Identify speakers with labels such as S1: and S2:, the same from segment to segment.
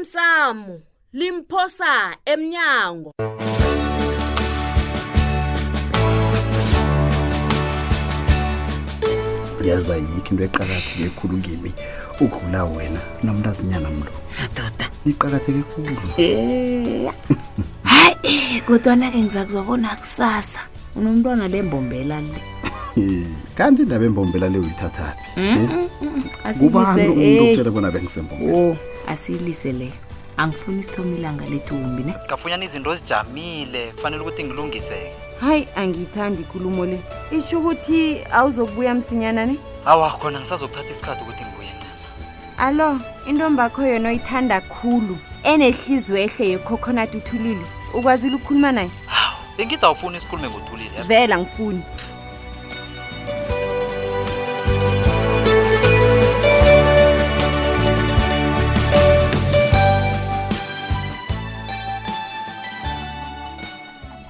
S1: lasemsamo limphosa emnyango
S2: uyaza yikho into eqakatheke khulu kimi ukudlula wena nomntazinyana mlo
S3: madoda
S2: iqakatheke khulu
S3: hayi kodwana-ke ngiza kuzobona kusasa unomntwana bembombela le
S2: Eh, kanti indaba embombela le uyithathaphi
S4: e-
S2: kubani
S3: Asiyilise-
S2: umuntu
S3: Eh,
S2: okutshela bona bengisembombela
S3: wo asiyilise leyo angifuni isithoma ilanga lethu umbi ne
S5: ngafunyana izinto zijamile kufanele ukuthi ngilungiseke
S4: hayi angiyithandi ikulumo le itsho ukuthi awuzokubuya msinyana ne
S5: awa khona ngisazokuthatha isikhathi ukuthi ngibuye nami
S4: alo intombakho yona oyithanda khulu enehliziyo ehle yecoconut uthulile ukwazile ukukhuluma naye
S5: hawu bengithi awufuni isikhulume ngothulile yazi.
S4: vela ngifuni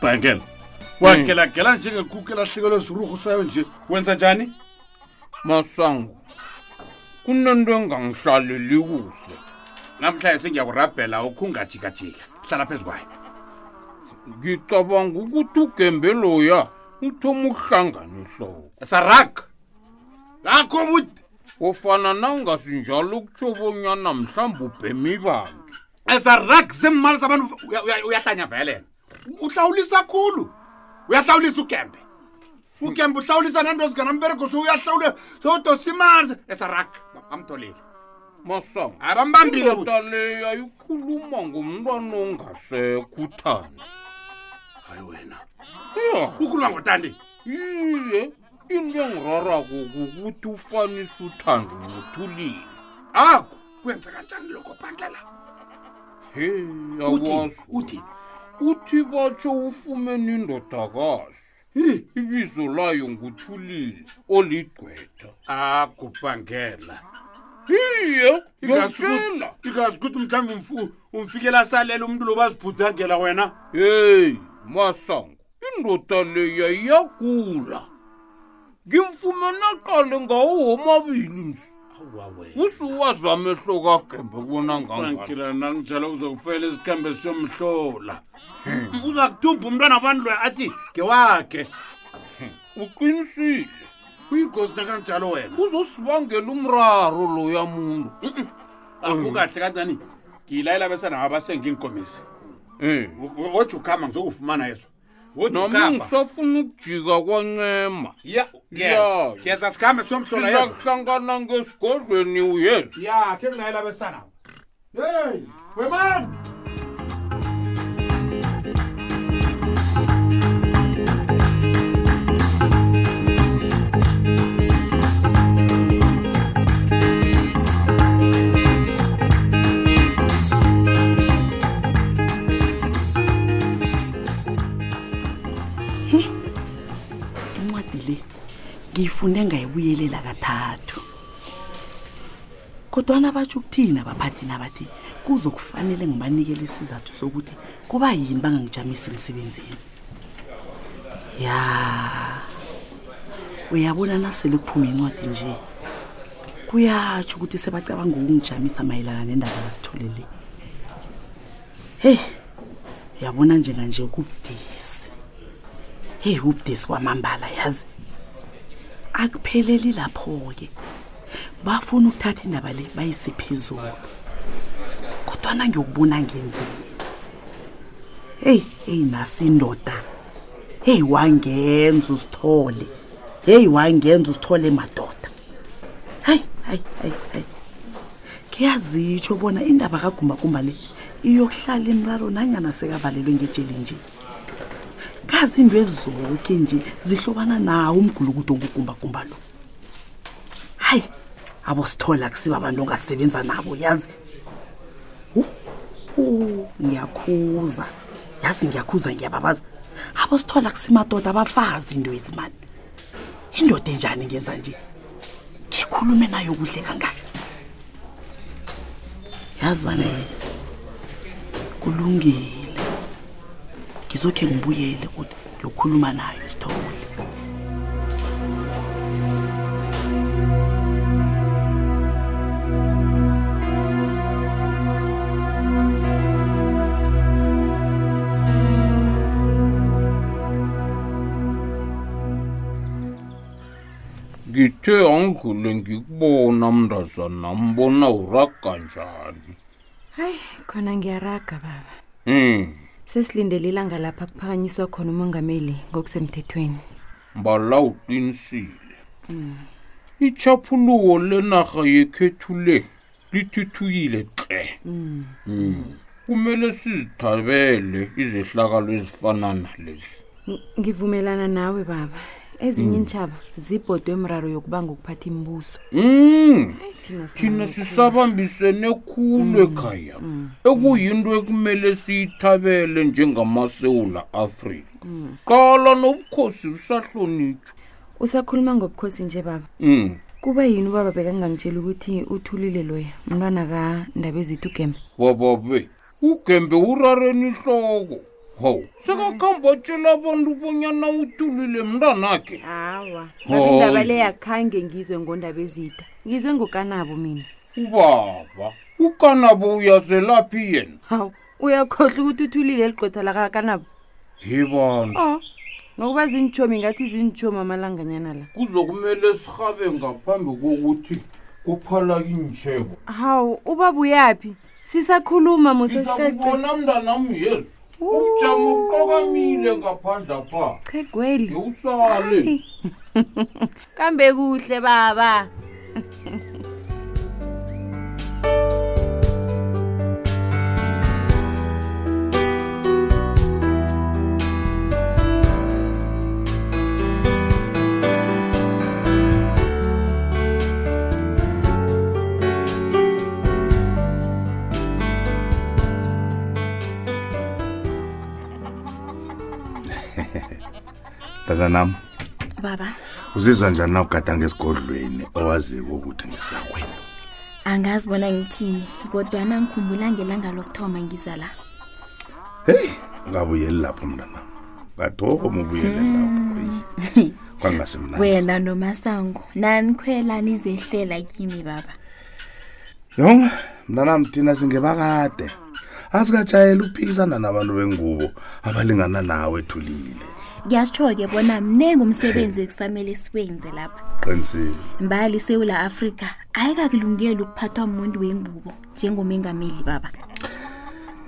S6: bhangela wagelagela njengenkukhu elahlekelwe siruhu sayo nje wenza njani
S7: masango kunento engangihlaleli kuhle
S6: namhlanje sengiyakurabhela ukhungajikajika hlala phezu kwayo
S7: ngicabanga ukuthi ugembe loya uthoma uhlangana ihloko
S6: sarak lakho buti
S7: ofana nawungasinjalo ukutsho bonyana mhlawumbe ubhemi bange
S6: sarak zimali zabantu uya- uya- uyahlanya velena uhlawulisa khulu uyahlawulisa ugembe ugembe uhlawulisa nanto ziganambereko sowuyahlawule sowudosa imanzi esarak bamtholile
S7: masango
S6: abambambile buti
S7: indoda leyo ayikhuluma ngomntwana ongasekho uthanda
S6: hayi wena
S7: ya
S6: ukhuluma ngotandi
S7: iye into engirarako kukuthi ufanise uthando nothulile
S6: ako kwenza kanjani lokho bandlela
S7: he
S6: uthi
S7: yakwazi
S6: uthi
S7: uthi batsho ufumene indodakazi
S6: hi
S7: ibizo layo nguthulile oligqwetha
S6: akubhangela
S7: iye yotshela
S6: ikazi ukuthi mhlawumbe umfu- umfikela asalela umntu lo bazibhudangela wena
S7: heyi masango indoda leya iyagula ngimfumene qale ngawo womabili msi usuwazi amehlo kagembe bona ngangani
S6: bangela nanginjalo uzokufela isikhambe siyomhlola uza kuthumba umntwana abantu loya athi ngewakhe
S7: uqinisile
S6: uyingozi nakanjalo wena
S7: uzosibangela umraro loya muntu
S6: akukahle kancani ngiyilayela besanabo abasenginkomisi
S7: Eh,
S6: wothi ukhama ngizokufumana yeso wothi
S7: nami
S6: ukhamba
S7: ngisafuna ukujika kwancema
S6: Ya,
S7: Ya.
S6: yes yeza sikhambe siyomhlola yeso
S7: sizakuhlangana ngesigodlweni uyeza
S6: ya khe ngilayela besanabo yeyi wemani
S8: incwadi le ngiyifunde ngayibuyelela kathathu kodwana batsho ukuthini abaphathi nabathi kuzokufanele ngibanikele isizathu sokuthi kuba yini bangangijamisi emsebenzini ya uyabona nasele kuphume incwadi nje kuyatsho ukuthi sebacabanga ukungijamisa mayelana nendaba kasithole le heyi uyabona njenganje kubudisi heyi ubudisi kwamambala yazi akupheleli lapho-ke bafuna ukuthatha indaba le bayise phezulu kodwana ngiyokubona ngenzeni heyi heyi nasi indoda heyi wangenza usithole heyi wangenza usithole madoda hayi hayi hayi hayi kuyazitsho bona indaba kagumbagumba le iyokuhlala imraro nanyana sekavalelwe ngetsheli nje kazi into ezoke nje zihlobana nawo umgulukudo ongugumbagumba lo hayi abosithola kusiba abantu ongasebenza nabo yazi uhu ngiyakhuza yazi ngiyakhuza ngiyababaza abosithola kusimadoda abafazi into ezimani indoda enjani ngenza nje ngikhulume nayo kuhle kangaka yazi bana yini kulungile ngizokhe ngibuyele kuthi ngiyokhuluma nayo isithole
S7: ngithe angule ngikubona mndazana mbona uraga njani
S4: hayi khona ngiyaraga baba
S7: um
S4: sesilindele ilanga lapha kuphakanyiswa khona umongameli ngokusemthethweni
S7: mbala uqinisile ichaphuluko lenarha yekhethu le lithuthukile tle Mm. kumele sizithabele izehlakalo ezifana nalezi
S4: Ng- ngivumelana nawe baba ezinye intshaba zibhodwe emraro yokuba ngokuphatha imibuso
S7: Mm.
S4: Thina sinayo.
S7: thina sisabambisene khulu ekhaya ekuyinto ekumele siyithabele njengamasewula afrika qala nobukhosi busahlonitshwa
S4: usakhuluma ngobukhosi nje baba
S7: Mm.
S4: kuba yini ubaba bekangangitshela ukuthi uthulile loya umntwana kandabezithu gembe
S7: bababe ugembe urareni ihloko hawu sekakhamba atshela abantu bonyana utulile mntanakhe
S4: hawa
S7: Baba, indaba Hayi. le
S4: yakhange ngizwe ngondabezitha ngizwe ngokanabo mina
S7: ubaba ukanabo uyazelaphi yena
S4: hawu uyakhohlwa ukuthi uthulile eligqotha lakakanabo
S7: yebani
S4: o nokuba zinitshomi ngathi zinitshomi amalanganyana la
S7: kuzokumele sihabe ngaphambi kokuthi kuphalake intshebo
S4: hawu ubaba uyaphi sisakhuluma
S7: ngizakubona mntanam yezu ubujamo buqokamile ngaphandla pha
S4: chegweli
S7: yewusale
S4: kambe kuhle baba
S6: ntazanam
S3: baba
S6: uzizwa njani na ugadange esigodlweni owaziko ukuthi ngisakwena
S3: angazi bona ngithini kodwana ngikhumbula ngelanga lokuthoma ngiza la
S6: heyi ungabuyeli lapho mntanam ngathoma ubuyele lapho eyi, kwangasemnandi
S3: wena nomasango nanikhwela nizehlela kimi baba
S6: yong mntanam thina singebakade asikatshayela ukuphikisana nabantu bengubo abalingana nawe ethulile
S3: ngiyasitsho-ke bona mningi umsebenzi ekusamele siwenze lapha
S6: qinisile
S3: mbali isewula afrika ayikakulungeli ukuphathwa muntu wengubo njengomengameli baba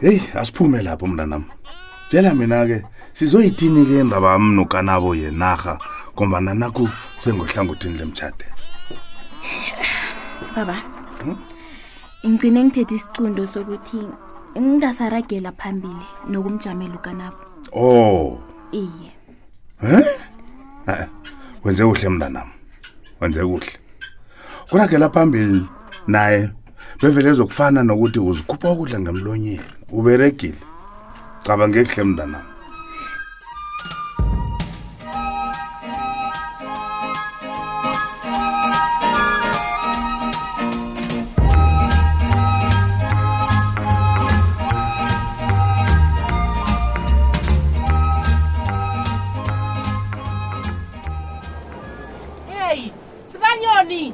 S6: heyi asiphume lapho mntanam tshela mina-ke sizoyithini-ke indaba amnokanabo yenarha ngombana nakho sengohlangothini lemtshade
S3: baba
S6: Hmm?
S3: ngigcine ngithethe isicundo sokuthi ngingasaragela phambili nokumjamela ukanabo
S6: oh
S3: iye
S6: Ah, wenze kuhle mntanam wenze kuhle kuragela phambili naye bevele zokufana nokuthi uzikhupha ukudla ngemlonyeni uberegile cabange kuhle mntanam
S8: Hey, Sibanyoni!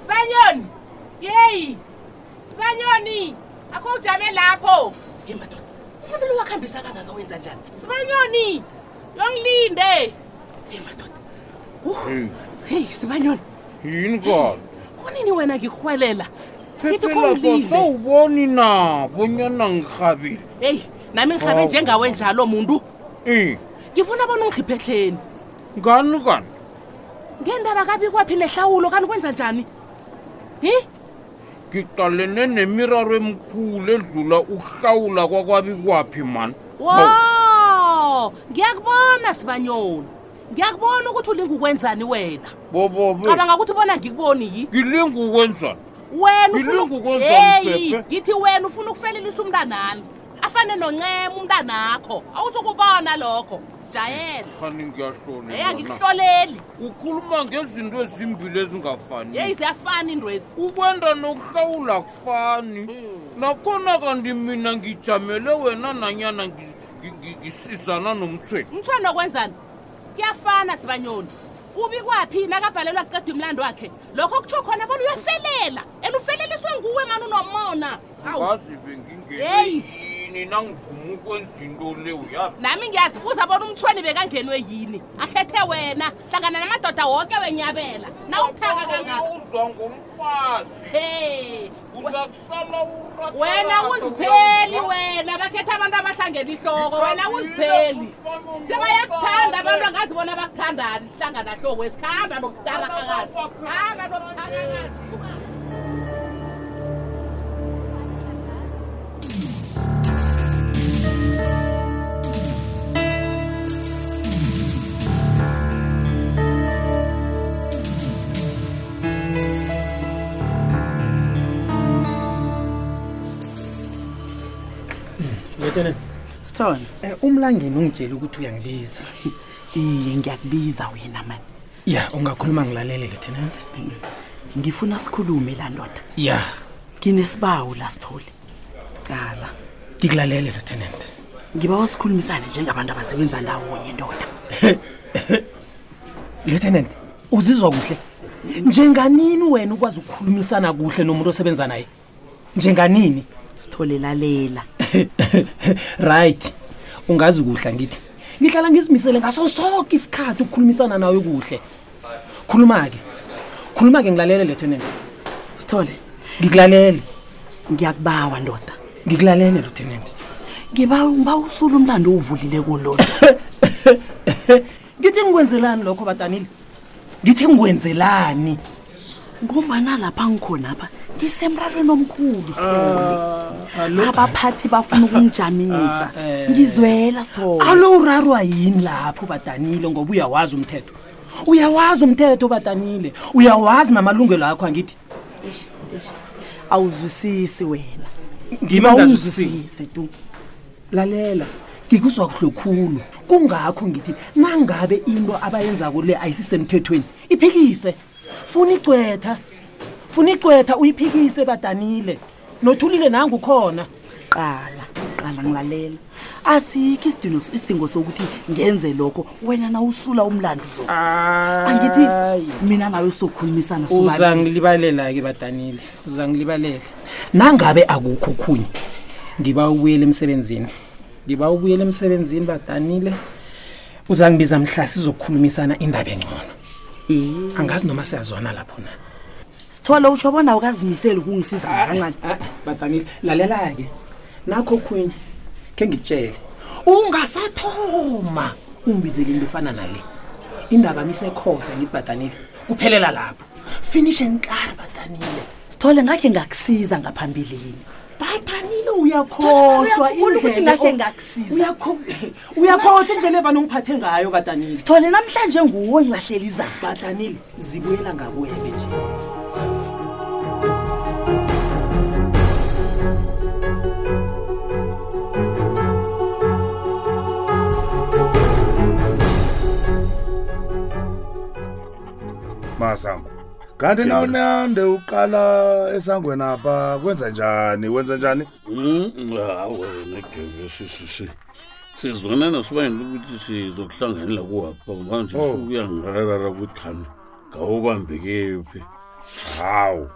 S8: Sibanyoni! Hey! Sibanyoni! Akho ujame lapho. Hey madoda. Umuntu lo wakhambisa kangaka wenza njani? Sibanyoni! Yongilinde. Hey madoda.
S7: Hey,
S8: Hey Sibanyoni,
S7: yini kani
S8: kunini wena ngikuhwelela? Ngithi
S7: phephelapha
S8: kungilinde.
S7: sawuboni na bonyana ngirhabile
S8: Hey, nami ngihabe
S7: Hawu.
S8: njengawe njalo muntu.
S7: um
S8: Ngifuna bona ungiphehleni.
S7: ngani kani
S8: Ngendaba kabi kwapi nehlawulo kanti kwenza njani? Hi?
S7: ngicalene nemiraro emkhulu edlula ukuhlawula kwakwabi kwaphi mani Hawu,
S8: wo ngiyakubona sibanyoni ngiyakubona ukuthi ulinga ukwenzani wena
S7: bobobe
S8: cabanga ukuthi ubona ngikuboni yi
S7: ngilinga ukwenzani
S8: wena
S7: Ngilinga
S8: ufuna-
S7: ukwenzani,
S8: Hey,
S7: Pepe?
S8: ngithi wena ufuna ukufelelisa umntanami afane noncema umntanakho awuzukubona lokho jayela
S7: khani
S8: hey
S7: ngiyahlole mana
S8: angikuhloleli
S7: ukhuluma ngezinto ezimbili ezingafaniyo
S8: yeyi ziyafana indwezi
S7: ukwenda nokuhlawula kufani
S8: Hmm.
S7: nakhona kanti mina ngijamele wena nanyana ngi- ngi- ngi- ngisizana nomthweni
S8: umthwana kwenzani kuyafana sibanyoni ubi kwaphi nakabhalelwa kuceda umlando wakhe lokho kutsho khona bona uyafelela and ufeleliswe nguwe mani unomona hawu
S7: ngazi
S8: Hey.
S7: bengingeneyini nina ngivuma ukwenza into le uyazi
S8: nami ngiyazibuza bona umthweni bekangenwe yini akhethe wena hlangana namadoda woke wenyabela nawuthaka kangaka
S7: uzwa ngomfazi
S8: he
S7: uzakusala urata-
S8: wena uzipheli wena bakhetha abantu abahlangela ihloko wena uzipheli sebayakuthanda abantu angazi bona bakuthandani sihlangana hloko esikhamba nokutarahakazi hamba nokuthakakazi
S9: letene
S10: sithole
S9: um umlangeni ungitshela ukuthi uyangibiza
S10: iye ngiyakubiza wena mani
S9: ya ungakhuluma ngilalele lieutenant
S10: ngifuna sikhulume laa ndoda
S9: ya
S10: nginesibawu la sithole cala
S9: ngikulalele lieutenant
S10: ngibawa sikhulumisane njengabantu abasebenza ndawonye ndoda
S9: lieutenant uzizwa kuhle njenganini wena ukwazi ukukhulumisana kuhle nomuntu osebenza naye njenganini
S10: sithole lalela
S9: right ungazi kuhle angithi ngihlala ngizimisele ngaso sonke isikhathi ukukhulumisana nawe kuhle khuluma-ke khuluma-ke ngilalele lieutenant
S10: sithole
S9: ngikulalele
S10: ngiyakubawa ndoda
S9: ngikulalele lieutenant
S10: ngiba ngiba usula umlando owuvulile kololo
S9: ngithi ngikwenzelani lokho batanile ngithi ngikwenzelani
S10: ngombana lapha ngikhonapha ngisemrarweni omkhulu sithole abaphathi bafuna ukungijamisa
S9: Ah, eh.
S10: ngizwela sithole
S9: alowurarwa yini lapho badanile ngoba uyawazi umthetho uyawazi umthetho badanile uyawazi namalungelo akho angithi
S10: Eish, eish. awuzwisisi wena
S9: Ngima
S10: awuzwisise tu
S9: lalela ngikuzwa kuhle khulu kungakho ngithi nangabe into abayenzako le ayisisemthethweni iphikise funa igcwetha funa igcwetha uyiphikise badanile nothulile nangukhona
S10: qala qala ngilalela asikho isidingo isidingo sokuthi ngenze lokho wena na usula umlando lo angithi mina nawe sokhulumisana
S9: uza
S10: sobabili.
S9: ngilibalela ke badanile uza ngilibalela nangabe akukho okhunye ngiba ubuyela emsebenzini ngiba ubuyela emsebenzini badanile uza ngibiza mhla sizokhulumisana indaba engcono
S10: Eh,
S9: angazi noma siyazwana lapho na
S10: sithole utsho bona ukazimiseli ukungisiza nakancane
S9: Ah, ah, badanile lalela-ke nakho okhunye khe ngikutshele ungasathoma ungibizele into efana nale indaba ngisekhoda ngithi badanile kuphelela lapho finish and clar badanile
S10: sithole ngakhe ngakusiza ngaphambilini
S9: badanile uyakhohlwa
S10: Uyakhumbula ukuthi
S9: indlela
S10: ngakhe
S9: o-
S10: ngakusiza.
S9: Uyakhu- uyakhohlwa indlela evane ungiphathe ngayo badanile
S10: sithole namhlanje nguwo ngilahlela izaba
S9: badanile zibuyela ngakuweke nje
S6: masango kanti nawunande uqala esangweni apha kwenza njani wenza njani
S11: Hmm, awena sizibonana sibangela ukuthi sizokuhlanganela kuwapha manje
S6: Oh.
S11: sukuyangirarara ukuthi khani ngawubambekephi
S6: hawu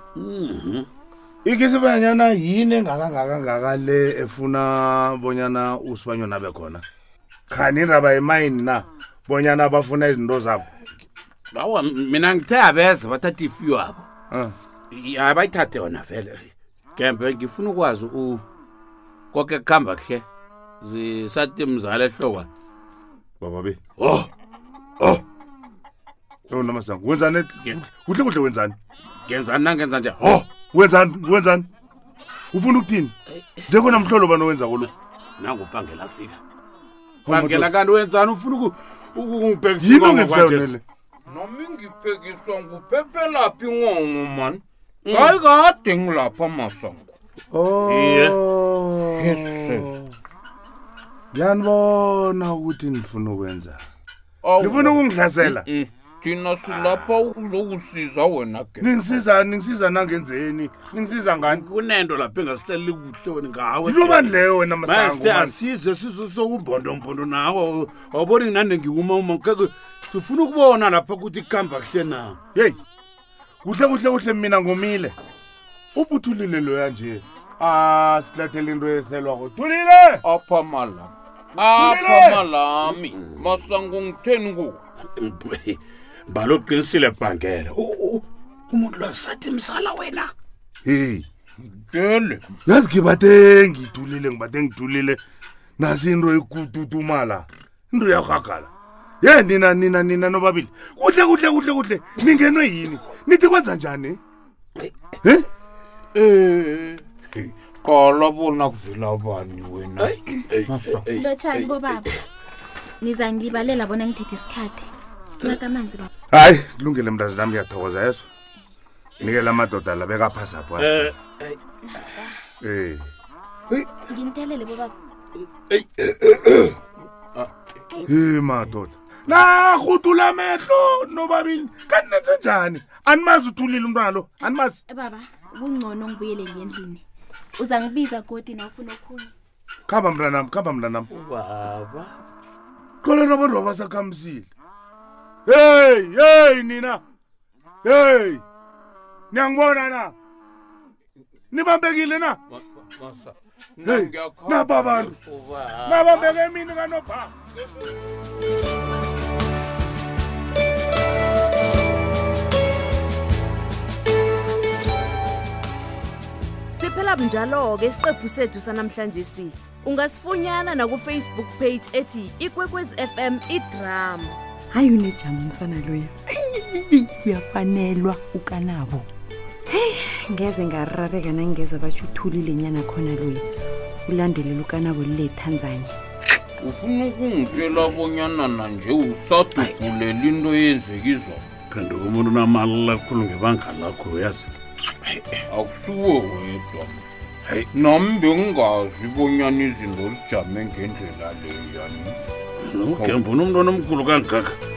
S6: ikisibanyana yini engakangakangaka le efuna bonyana usibanyona bekhona khani indaba yemayini na bonyana bafuna izinto zabo
S11: awa mina ngithe abeze bathatha ifiyo abo
S6: Ah.
S11: ya bayithathe yona vele gembe ngifuna ukwazi u konke kuhamba kuhle zisathi mzala ehlokwa
S6: bababe
S11: oh oh
S6: namasango Oh, wenzani kuhle kuhle wenzani
S11: ngenzani nangenza nje
S6: ho wenzani wenzani ufuna ukuthini njengona mhlolo banowenza kolo
S11: nangubhangela afika bangela kanti wenzani ufuna uku- ukungibhekisa
S6: yini
S11: ingongo
S6: ongenzayo
S11: kwanjesi?
S6: nele
S7: nami ngiphekiswa nguphephelaphi ngongo mani hayi kade ngilapha masango
S6: Oh.
S11: Iye.
S7: Yes,
S6: ngiyanibona ukuthi nifuna ukwenza
S7: Awu,
S6: nifuna ukungihlasela
S7: Mm, thina silapha uzokusiza wena ke
S6: ningisizani ningisiza nangenzeni ningisiza ngani
S11: kunento lapho engasihlaleli kuhle wena ngawe
S6: yilobani leyo wena masango
S11: manje
S6: man.
S11: asize sisokumbhondombhondo nawo awuboni nginande ngiwuma uma keke sifuna ukubona lapha ukuthi kuhamba kuhle na
S6: heyi kuhle kuhle kuhle mina ngomile ubhuthulile loya nje asilethele into eselwako thulile
S7: apha malam apha malami masango ngitheni kuwe
S12: mbala uqinisile bhangela umuntu lwasathi msala wena
S6: heyi
S7: tele
S6: yazi ngibathe ngidulile ngibathe ngidulile nasi into ikututumala into yarhagala ye nina nina nina nobabili kuhle kuhle kuhle kuhle ningenwe yini nithi kwenza njani
S7: um Eh, qala bona kuvela bani wena masango
S4: lotshani bobaba niza ngilibalela bona ngithethe isikhathi nakamanzi baba
S6: hayi kulungile mntazi nami ngiyathokoza yezo nikela amadoda la bekaphasapho
S12: Eh,
S6: eh
S4: nginithelele bobaba
S6: he madoda narhutula mehlo nobabili kanti nenze njani animazi uthulile umntwana lo animazi
S4: Eh, baba kungcono ngibuyele ngendlini uza ngibiza godi na ufuna okhunye
S6: khamba mntanam khamba mntanam
S12: ubaba
S6: khona nabantu abasakhamisile heyi heyi nina heyi niyangibona na nibambekile na heyi napa bantu nabambeke emini kanopha
S8: siphela bunjalo-ke isiqephu sethu sanamhlanje si ungasifunyana nakufacebook page ethi ikwekwezi fm idrama
S13: hayi unejama umsana loyo Ayiyiyi, uyafanelwa ukanabo heyi ngeze ngarareka nangingeza batsho uthulile nyana khona loyo ulandelela ukanabo lile tanzania
S7: ufuna ukungitshela bonyana nanje usadubhulela into yenzeka izolo
S12: phenduka umuntu unamali lakhulu ngebanga lakho uyazi
S7: akusuwe wedwa hayi nami bengingazi bonyana izinto zijame ngendlela leyani
S12: ugembuna umntwana omkhulu kangaka